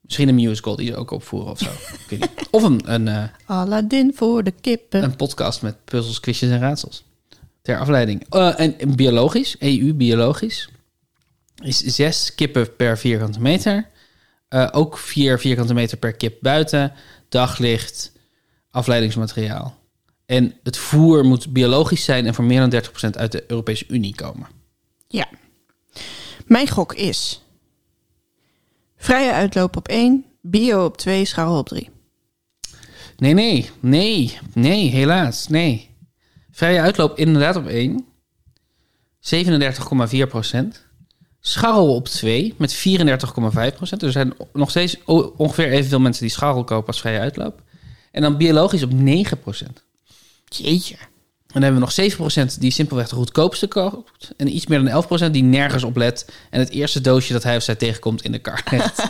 B: Misschien een musical die ze ook opvoeren of zo. Ik weet niet. Of een, een, eh,
A: Aladdin voor de kippen.
B: een podcast met puzzels, quizjes en raadsels. Ter afleiding. Eh, en, en biologisch, EU-biologisch, is zes kippen per vierkante meter. Eh, ook vier vierkante meter per kip buiten. Daglicht, afleidingsmateriaal. En het voer moet biologisch zijn en voor meer dan 30% uit de Europese Unie komen.
A: Ja. Mijn gok is... Vrije uitloop op 1, bio op 2, scharrel op 3.
B: Nee, nee, nee, nee, helaas, nee. Vrije uitloop inderdaad op 1. 37,4 Scharrel op 2 met 34,5 Er zijn o- nog steeds o- ongeveer evenveel mensen die scharrel kopen als vrije uitloop. En dan biologisch op 9
A: Jeetje.
B: En dan hebben we nog 7 die simpelweg de goedkoopste koopt. En iets meer dan 11 die nergens op let. En het eerste doosje dat hij of zij tegenkomt in de kar legt.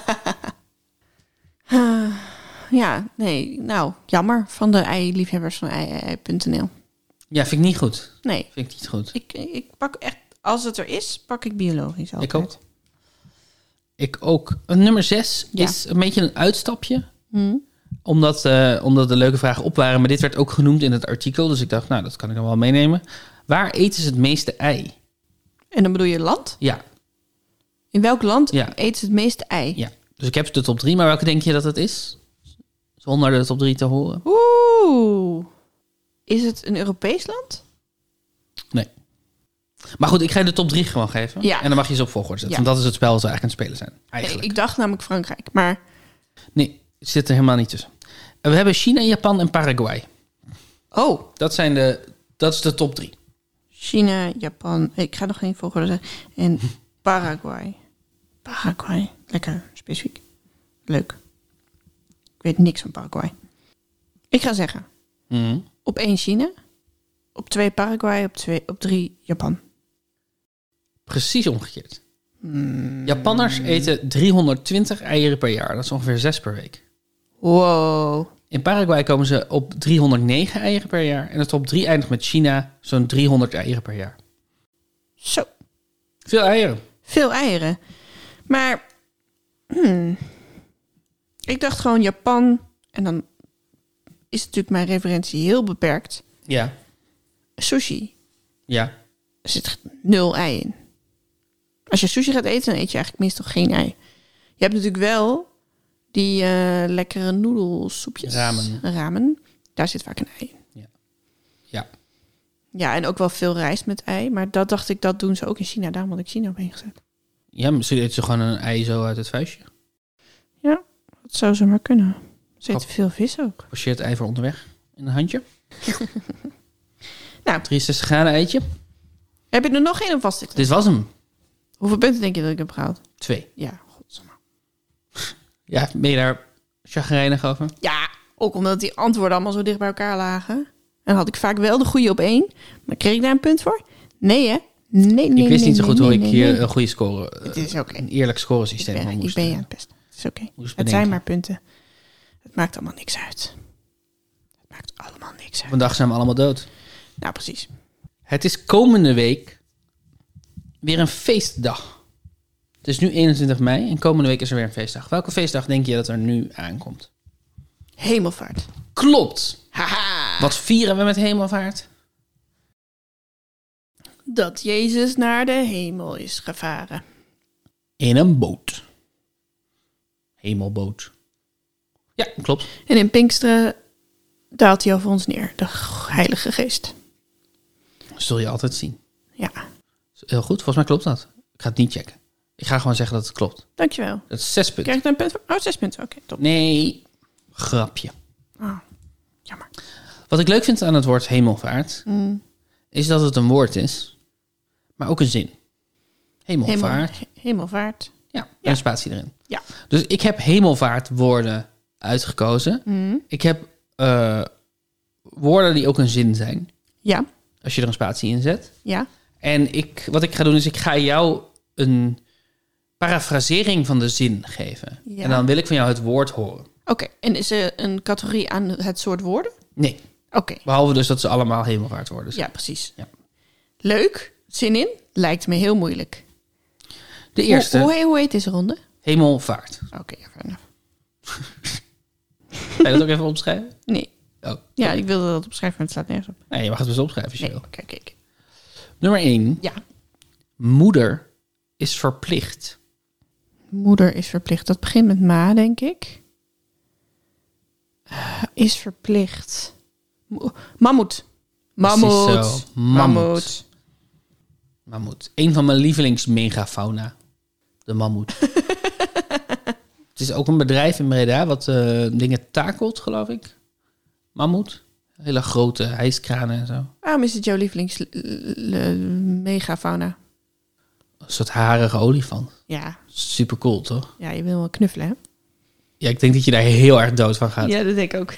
A: Ja, nee. Nou, jammer van de ei-liefhebbers van ei.nl.
B: ja, vind ik niet goed.
A: Nee.
B: Vind ik niet goed.
A: Ik, ik pak echt... Als het er is, pak ik biologisch altijd.
B: Ik ook. Ik ook. Eh, Nummer 6
A: Ja. Hmm.
B: is een beetje een uitstapje. Omdat, eh, omdat de leuke vragen op waren. Maar dit werd ook genoemd in het artikel. Dus ik dacht, nou, dat kan ik dan wel meenemen. Waar eten ze het meeste ei?
A: En dan bedoel je land?
B: Ja,
A: In welk land
B: Ja.
A: eet ze het meeste ei?
B: ja. Dus ik heb de top 3. Maar welke denk je dat het is? Zonder de top 3 te horen.
A: Oeh. Is het een Europees land?
B: Nee. Maar goed, ik ga je de top 3 gewoon geven.
A: Ja.
B: En dan mag je ze op volgorde zetten.
A: Ja.
B: Want dat is het spel wat we eigenlijk aan het spelen zijn.
A: Nee,
B: Eigenlijk.
A: ik dacht namelijk Frankrijk, maar
B: Nee, het zit er helemaal niet tussen. En We hebben China, Japan en Paraguay.
A: oh,
B: Dat, zijn de, dat is de top 3.
A: China, Japan. Ik ga nog geen volgorde zeggen.
B: (laughs)
A: En Paraguay. Paraguay, lekker specifiek. Leuk. Ik weet niks van Paraguay. Ik ga zeggen op één China, op twee Paraguay, op twee, op drie Japan.
B: Precies omgekeerd. Hmm. Japanners eten 320 eieren per jaar. Dat is ongeveer 6 per week.
A: Wow.
B: In Paraguay komen ze op 309 eieren per jaar. En de top 3 eindigt met China zo'n 300 eieren per jaar.
A: Zo.
B: Veel eieren.
A: Veel eieren. Maar hmm, ik dacht gewoon Japan. En dan is natuurlijk mijn referentie heel beperkt.
B: Ja.
A: Sushi.
B: Ja.
A: Er zit nul ei in. Als je sushi gaat eten, dan eet je eigenlijk meestal geen ei. Je hebt natuurlijk wel die eh, lekkere noedelsoepjes.
B: Ramen.
A: Ramen. Daar zit vaak een ei in.
B: Ja.
A: Ja, en ook wel veel rijst met ei. Maar dat dacht ik, dat doen ze ook in China. Daarom had ik China op ingezet.
B: Ja, misschien eten ze gewoon een ei zo uit het vuistje.
A: Dat zou ze maar kunnen. Ze eten
B: Grappig.
A: veel vis ook.
B: Passeert ei voor onderweg. In een handje.
A: Nou.
B: 63 graden eitje.
A: Heb je er nog één of was dit?
B: Dit was hem.
A: Hoeveel punten denk je dat ik heb gehaald?
B: Twee.
A: Ja, godsamme.
B: Ja, ben je daar chagrijnig over?
A: Ja, ook omdat die antwoorden allemaal zo dicht bij elkaar lagen. En had ik vaak wel de goede op één. Maar kreeg ik daar een punt voor? Nee, hè? Nee, nee,
B: ik
A: nee,
B: wist niet zo
A: nee,
B: goed hoe
A: nee,
B: ik
A: nee,
B: hier
A: nee.
B: een goede score... eh,
A: Het is oké.
B: Een eerlijk
A: Ik
B: scoresysteem van
A: ben, ik
B: moest. eh,
A: ben je aan het best. Het is oké.
B: moest
A: Het zijn
B: bedenken.
A: maar punten. Het maakt allemaal niks uit. Het maakt allemaal niks uit.
B: Vandaag zijn we allemaal dood.
A: Nou, precies.
B: Het is komende week weer een feestdag. Het is nu 21 mei en komende week is er weer een feestdag. Welke feestdag denk je dat er nu aankomt?
A: Hemelvaart.
B: Klopt!
A: Haha.
B: Wat vieren we met hemelvaart?
A: Dat Jezus naar de hemel is gevaren.
B: In een boot. Hemelboot. Ja, klopt.
A: En in Pinksteren daalt hij over ons neer. De Heilige Geest.
B: Dat zul je altijd zien.
A: Ja,
B: Is Heel goed, volgens mij klopt dat. Ik ga het niet checken. Ik ga gewoon zeggen dat het klopt.
A: dankjewel.
B: Dat is zes punten.
A: Krijg ik daar een punt voor? Oh, zes punten. Oké, top.
B: Nee, grapje.
A: Ah, jammer.
B: Wat ik leuk vind aan het woord hemelvaart,
A: Mm.
B: is dat het een woord is, maar ook een zin. Hemelvaart.
A: Hemel- he- Hemelvaart.
B: Ja, en een spatie erin.
A: Ja.
B: Dus ik heb hemelvaartwoorden uitgekozen.
A: Mm.
B: Ik heb eh, woorden die ook een zin zijn,
A: Ja,
B: als je er een spatie in zet.
A: ja.
B: En ik, wat ik ga doen is, ik ga jou een parafrasering van de zin geven.
A: Ja.
B: En dan wil ik van jou het woord horen.
A: Oké, en is er een categorie aan het soort woorden?
B: Nee,
A: Oké,
B: behalve dus dat ze allemaal hemelvaartwoorden zijn.
A: ja, precies.
B: Ja.
A: Leuk, zin in, lijkt me heel moeilijk.
B: De eerste,
A: Hoe, hoe, hoe heet deze ronde?
B: hemelvaart.
A: Oké, ja, fair enough.
B: Ga je dat ook even opschrijven?
A: Nee,
B: Oh,
A: ja, ik wilde dat opschrijven, maar het slaat nergens op.
B: nee, je mag het dus opschrijven als je
A: Nee,
B: wil.
A: oké, oké, oké.
B: Nummer 1.
A: Ja,
B: Moeder is verplicht.
A: moeder is verplicht. Dat begint met ma, denk ik. Eh, Is verplicht. Mo- Mammoet.
B: Precies
A: Mammoet.
B: zo. Mammoet. Mammoet. Een van mijn lievelingsmegafauna. De mammoet. het is ook een bedrijf in Breda wat eh, dingen takelt, geloof ik. Mammoet. Hele grote hijskranen en zo.
A: Waarom Ah, is het jouw lievelings l- l- megafauna?
B: Een soort harige olifant.
A: Ja.
B: Super cool, toch?
A: ja, je wil wel knuffelen, hè?
B: Ja, ik denk dat je daar heel erg dood van gaat. Ja,
A: Ja, dat denk ik ook.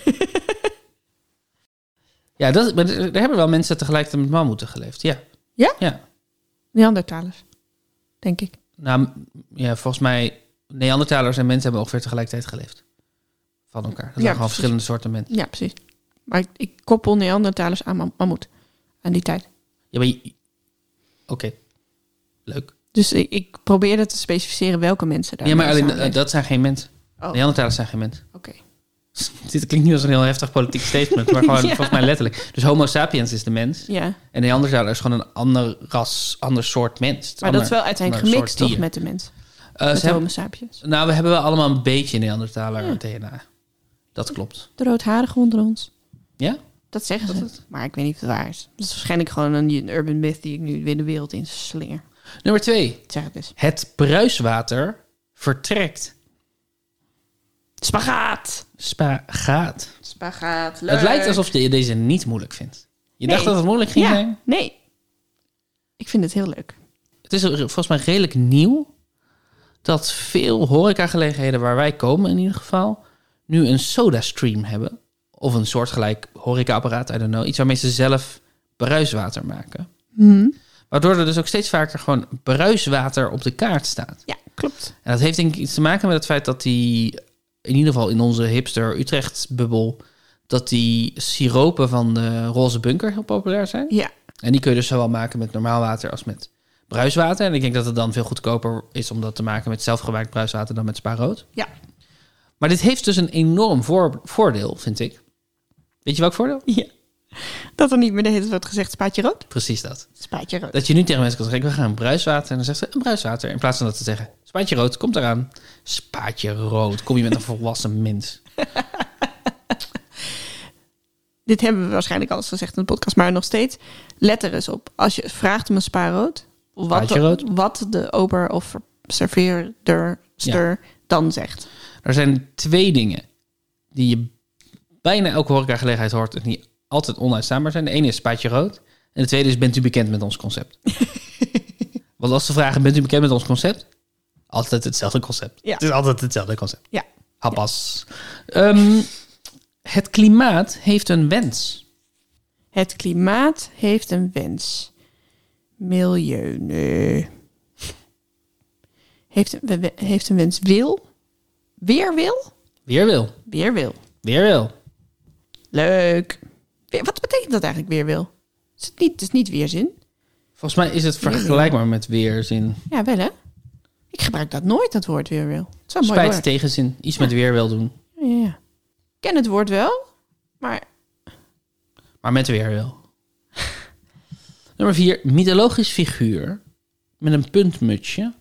B: dat, maar er er hebben wel mensen tegelijkertijd met mammoeten geleefd. Ja.
A: Ja? (laughs)
B: Ja.
A: Neandertalers, denk ik.
B: Nou, m- ja, volgens mij, Neandertalers en mensen hebben ongeveer tegelijkertijd geleefd. Van elkaar. Dat
A: Ja,
B: waren gewoon
A: precies.
B: verschillende soorten mensen.
A: Ja, precies. Maar ik, ik koppel Neandertalers aan mam- mammoet. Aan die tijd.
B: Ja, maar... je- Oké. Leuk.
A: Dus ik, ik probeerde te specificeren welke mensen daar
B: Ja, maar alleen, eh,
A: samenleven.
B: dat zijn geen mensen.
A: Oh, oké.
B: Neandertalers zijn geen mensen. (laughs) Dit klinkt niet als een heel heftig politiek statement,
A: (laughs)
B: maar gewoon
A: Ja.
B: volgens mij letterlijk. Dus homo sapiens is de mens.
A: Ja, maar
B: En Neandertaler is gewoon een ander ras, ander soort mens. Het
A: dat is
B: ander-
A: wel uiteindelijk
B: ander
A: gemixt
B: soort
A: toch
B: dier.
A: met de mens.
B: Eh,
A: met
B: ze hebben-
A: homo sapiens.
B: nou, we hebben wel allemaal een beetje Neandertaler DNA. Dat klopt.
A: De roodharige onder ons.
B: Ja?
A: Dat zeggen ze. Maar ik weet niet of het waar is. Dat is waarschijnlijk gewoon een, een urban myth die ik nu weer de wereld in slinger.
B: Nummer twee.
A: Zeg het dus. eens.
B: Het bruiswater vertrekt.
A: Spagaat!
B: Spagaat.
A: Spagaat,
B: Het lijkt alsof je deze niet moeilijk vindt. Je dacht
A: Nee.
B: dat het moeilijk ging zijn?
A: Ja, nee. Ik vind het heel leuk.
B: Het is volgens mij redelijk nieuw dat veel horecagelegenheden waar wij komen in ieder geval nu een SodaStream hebben. Of een
A: Hmm.
B: soortgelijk horecaapparaat, I don't know. Iets waarmee ze zelf bruiswater maken. Waardoor er dus ook steeds vaker gewoon bruiswater op de kaart staat.
A: Ja, klopt.
B: En dat heeft denk ik iets te maken met het feit dat die, in ieder geval in onze hipster Utrecht-bubbel, dat die siropen van de roze bunker heel populair zijn.
A: Ja,
B: En die kun je dus zowel maken met normaal water als met bruiswater. En ik denk dat het dan veel goedkoper is om dat te maken met zelfgemaakt bruiswater dan met spaarrood.
A: Ja.
B: Maar dit heeft dus een enorm voor- voordeel, vind ik. Weet je welk voordeel?
A: ja. Dat er niet meer de hele tijd wordt gezegd spaatje rood.
B: Precies dat.
A: Spaatje rood.
B: Dat je nu tegen mensen kan zeggen, we gaan bruiswater. En dan zegt ze, een bruiswater. In plaats van dat ze zeggen, spaatje rood, komt eraan. Spaatje rood, kom je met een (laughs) volwassen mens.
A: Dit hebben we waarschijnlijk al eens gezegd in de podcast, maar nog steeds. Let er eens op. Als je vraagt om een spaarrood, wat
B: Spaatje
A: de,
B: rood.
A: wat de ober of serveerder ster dan zegt.
B: Er zijn twee dingen die je bijna elke horecagelegenheid hoort... en die altijd onuitstaanbaar zijn. De ene is spaatje rood. En de tweede is, bent u bekend met ons
A: (laughs)
B: concept? Want als ze vragen, bent u bekend met ons concept? Altijd hetzelfde concept.
A: Ja.
B: Het is altijd hetzelfde concept.
A: Ja.
B: Hapas. Ehm, het klimaat heeft een wens.
A: Het klimaat heeft een wens. Milieu, nee. Heeft een, we- we- heeft een wens wil? Weer wil?
B: Weer wil.
A: Weer wil.
B: Weer wil.
A: Leuk. Weer- wat betekent dat eigenlijk, weer wil? Is het, niet, het is niet weerzin.
B: Volgens mij is het vergelijkbaar met weerzin.
A: Ja, wel hè? Ik gebruik dat nooit, dat woord weer wil. Het is wel een mooi
B: Spijt,
A: woord.
B: tegenzin. Iets met weer wil doen.
A: Ja, ja. Ik ken het woord wel, maar
B: Maar met weer wil. (laughs) Nummer vier. Mythologisch figuur met een puntmutsje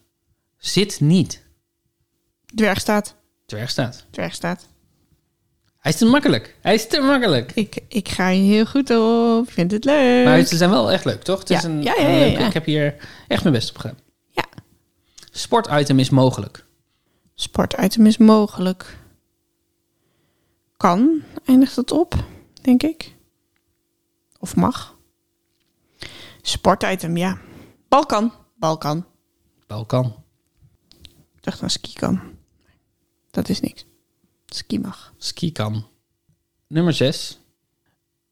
B: zit niet.
A: dwerg staat.
B: Dwerg staat.
A: Dwerg staat.
B: Hij is te makkelijk. Hij is te makkelijk.
A: Ik, ik ga hier heel goed op. Ik vind het leuk.
B: Maar ze zijn wel echt leuk, toch? Het
A: Ja.
B: is een,
A: Ja, ja, ja,
B: een leuke-
A: ja.
B: Ik heb hier echt mijn best op gedaan.
A: Ja.
B: Sportitem is mogelijk.
A: Sportitem is mogelijk. Kan, eindigt het op, denk ik. Of mag. Sportitem, ja. Balkan. Balkan.
B: Balkan.
A: Ik dacht aan ski kan. Dat is niks. Ski mag.
B: Ski kan. Nummer 6.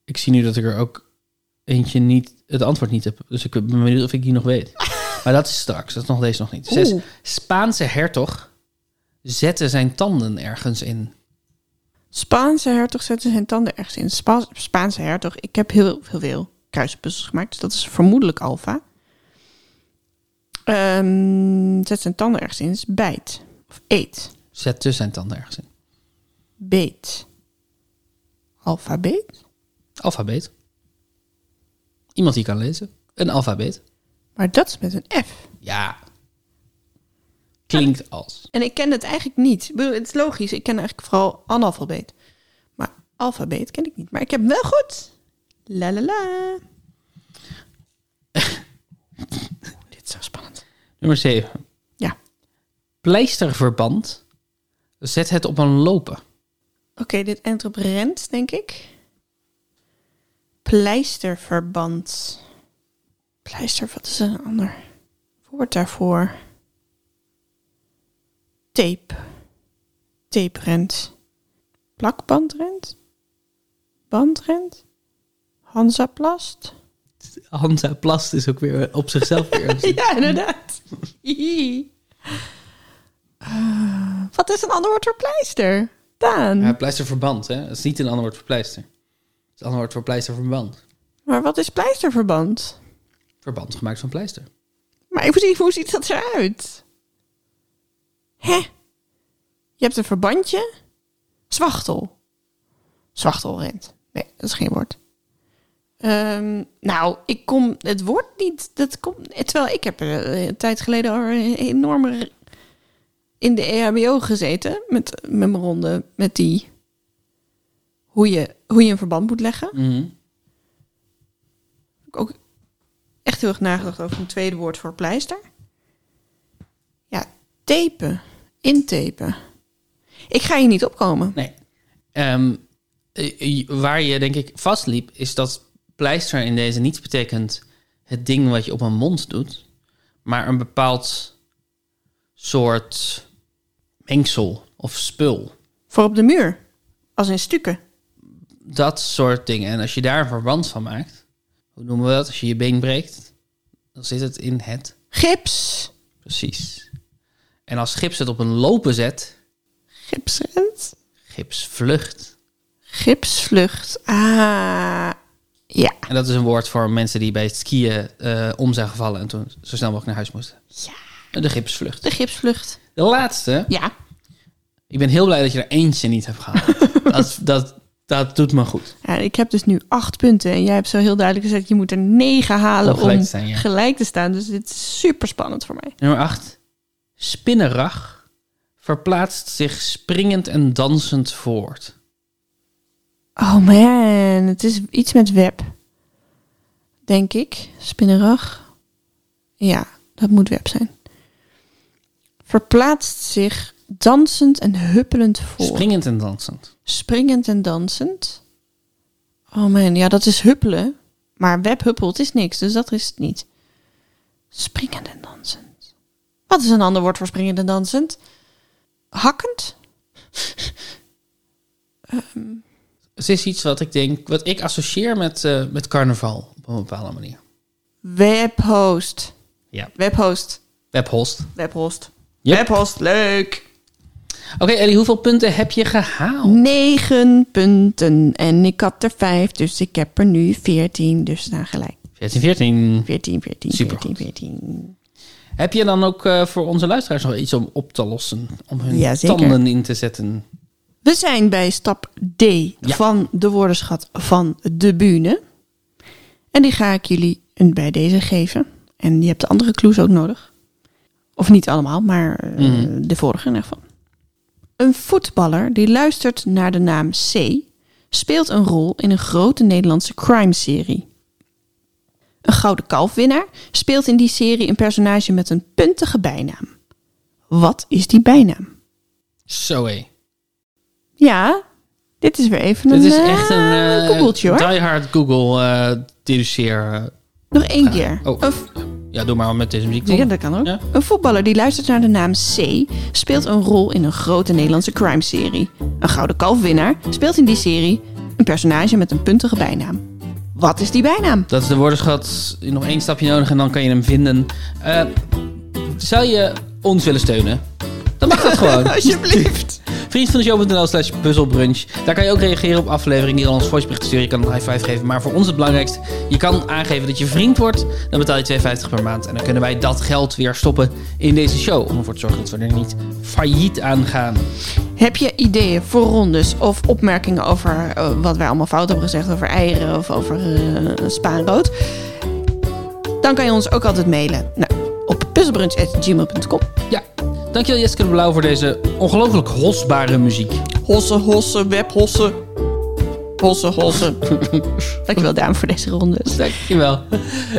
B: Ik zie nu dat ik er ook eentje niet, het antwoord niet heb. Dus ik ben benieuwd of ik die nog
A: (laughs)
B: weet. Maar dat is straks. Dat is nog deze nog niet. Zes.
A: Oeh.
B: Spaanse hertog zette zijn tanden ergens in.
A: Spaanse hertog zette zijn tanden ergens in. Spa- Spaanse hertog. Ik heb heel, heel veel kruisbussen gemaakt. Dus dat is vermoedelijk alfa. Ehm, zet zijn tanden ergens in. Is bijt. Of eet.
B: Zette zijn tanden ergens in.
A: Beet. Alfabeet?
B: Alfabeet. Iemand die kan lezen. Een alfabeet.
A: Maar dat is met een F.
B: Ja. Klinkt als.
A: En ik ken het eigenlijk niet. Ik bedoel, het is logisch. Ik ken eigenlijk vooral analfabeet. Maar alfabeet ken ik niet. Maar ik heb hem wel goed. La la la. Dit is zo spannend.
B: Nummer 7.
A: Ja.
B: Pleisterverband zet het op een lopen.
A: Oké, dit eindigt op rent, denk ik. Pleisterverband. Pleister, wat is een ander woord daarvoor? Tape. Taperent. Plakbandrent? Bandrent? Hansaplast?
B: Hansa Plast is ook weer op zichzelf weer. (laughs)
A: (laughs)
B: een-
A: Ja, inderdaad. Hihi. Eh, wat is een ander woord voor pleister? Daan.
B: Ja, pleisterverband, hè? Dat is niet een ander woord voor pleister. Het is een ander woord voor pleisterverband.
A: Maar wat is pleisterverband?
B: Verband gemaakt van pleister.
A: Maar ik precies, hoe ziet dat eruit? Hè? Je hebt een verbandje. Zwachtel. Zwachtelrent. Nee, dat is geen woord. Ehm, nou, ik kom het woord niet. Dat komt, terwijl ik heb eh, een tijd geleden al een enorme r- in de E EHBO gezeten met, met mijn ronde met die hoe je, hoe je een verband moet leggen ook echt heel erg nagedacht over een tweede woord voor pleister. Ja, tapen. Intapen. Ik ga hier niet opkomen.
B: Nee. Ehm, eh, eh, waar je denk ik vastliep, is dat pleister in deze niet betekent het ding wat je op een mond doet, maar een bepaald soort mengsel of spul.
A: Voor op de muur. Als in stukken.
B: Dat soort dingen. En als je daar een verband van maakt, hoe noemen we dat? Als je je been breekt, dan zit het in het.
A: Gips.
B: Precies. En als gips het op een lopen zet,
A: Gips rent.
B: gips vlucht.
A: Gipsvlucht. Ah. Ja.
B: En dat is een woord voor mensen die bij het skiën eh, om zijn gevallen en toen zo snel mogelijk naar huis moesten.
A: Ja.
B: De gipsvlucht.
A: De gipsvlucht.
B: De laatste.
A: Ja.
B: Ik ben heel blij dat je er eentje niet hebt (laughs) gehaald. dat, dat, dat doet me goed.
A: Ja, ik heb dus nu acht punten. En jij hebt zo heel duidelijk gezegd, je moet er negen halen
B: Om gelijk
A: om
B: te staan, ja.
A: gelijk te staan. Dus dit is super spannend voor mij.
B: Nummer 8. Spinnenrag verplaatst zich springend en dansend voort.
A: Oh man, het is iets met web. Denk ik. Spinnerag. Ja, dat moet web zijn. Verplaatst zich dansend en huppelend voor.
B: Springend en dansend.
A: Springend en dansend. Oh man, ja, dat is huppelen. Maar web huppelt is niks, dus dat is het niet. Springend en dansend. Wat is een ander woord voor springend en dansend? Hakkend?
B: Het is iets wat ik denk, wat ik associeer met, eh, met carnaval op een bepaalde manier.
A: Webhost.
B: Ja.
A: Webhost.
B: Webhost.
A: Webhost.
B: Yep.
A: Webhost, leuk.
B: Oké, Ellie, hoeveel punten heb je gehaald?
A: Negen punten. En ik had er vijf, dus ik heb er nu veertien. Dus staan gelijk.
B: 14, 14.
A: Veertien, veertien,
B: Supergoed.
A: veertien, veertien.
B: Heb je dan ook eh, voor onze luisteraars nog iets om op te lossen? Om hun
A: Ja, zeker.
B: tanden in te zetten?
A: We zijn bij stap D van de woordenschat van de bühne. En die ga ik jullie een- bij deze geven. En je hebt de andere clues ook nodig. Of niet allemaal, maar eh, de vorige in ieder geval. Een voetballer die luistert naar de naam C speelt een rol in een grote Nederlandse crime-serie. Een gouden kalfwinnaar speelt in die serie een personage met een puntige bijnaam. Wat is die bijnaam?
B: Zo hé.
A: Ja, dit is weer even
B: Dit
A: een,
B: is echt een
A: eh,
B: eh,
A: googeltje hoor.
B: diehard Google eh deduceer. eh,
A: Nog één keer.
B: Oh.
A: Een, v-
B: ja, doe maar met deze muziek. toch?
A: ja, dat kan ook.
B: Ja.
A: Een voetballer die luistert naar de naam C speelt een rol in een grote Nederlandse crime-serie. Een gouden kalfwinnaar speelt in die serie een personage met een puntige bijnaam. Wat is die bijnaam?
B: Dat is de woordenschat. Nog één stapje nodig en dan kan je hem vinden. Eh, zou je ons willen steunen? Dan mag dat gewoon.
A: Alsjeblieft.
B: Vriend van de show.nl slash puzzelbrunch. Daar kan je ook reageren op afleveringen. Je kan ons voicebericht sturen. Je kan een high five geven. Maar voor ons het belangrijkst. Je kan aangeven dat je vriend wordt. Dan betaal je 2,50 per maand. En dan kunnen wij dat geld weer stoppen in deze show. Om ervoor te zorgen dat we er niet failliet aan gaan.
A: Heb je ideeën voor rondes of opmerkingen over eh, wat wij allemaal fout hebben gezegd over eieren of over eh, spaanrood? Dan kan je ons ook altijd mailen nou, op puzzelbrunch.gmail.com.
B: Ja. Dankjewel Jessica de Blauw voor deze ongelooflijk hosbare muziek.
A: Hossen, hossen, webhossen. Hossen, (laughs) hossen. Dankjewel, Daan, voor deze ronde.
B: Dankjewel.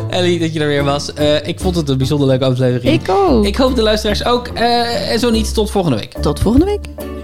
B: Ellie, dat je er weer was. Eh, ik vond het een bijzonder leuke aflevering.
A: Ik ook.
B: Ik hoop de luisteraars ook. Eh, en zo niet, tot volgende week.
A: Tot volgende week.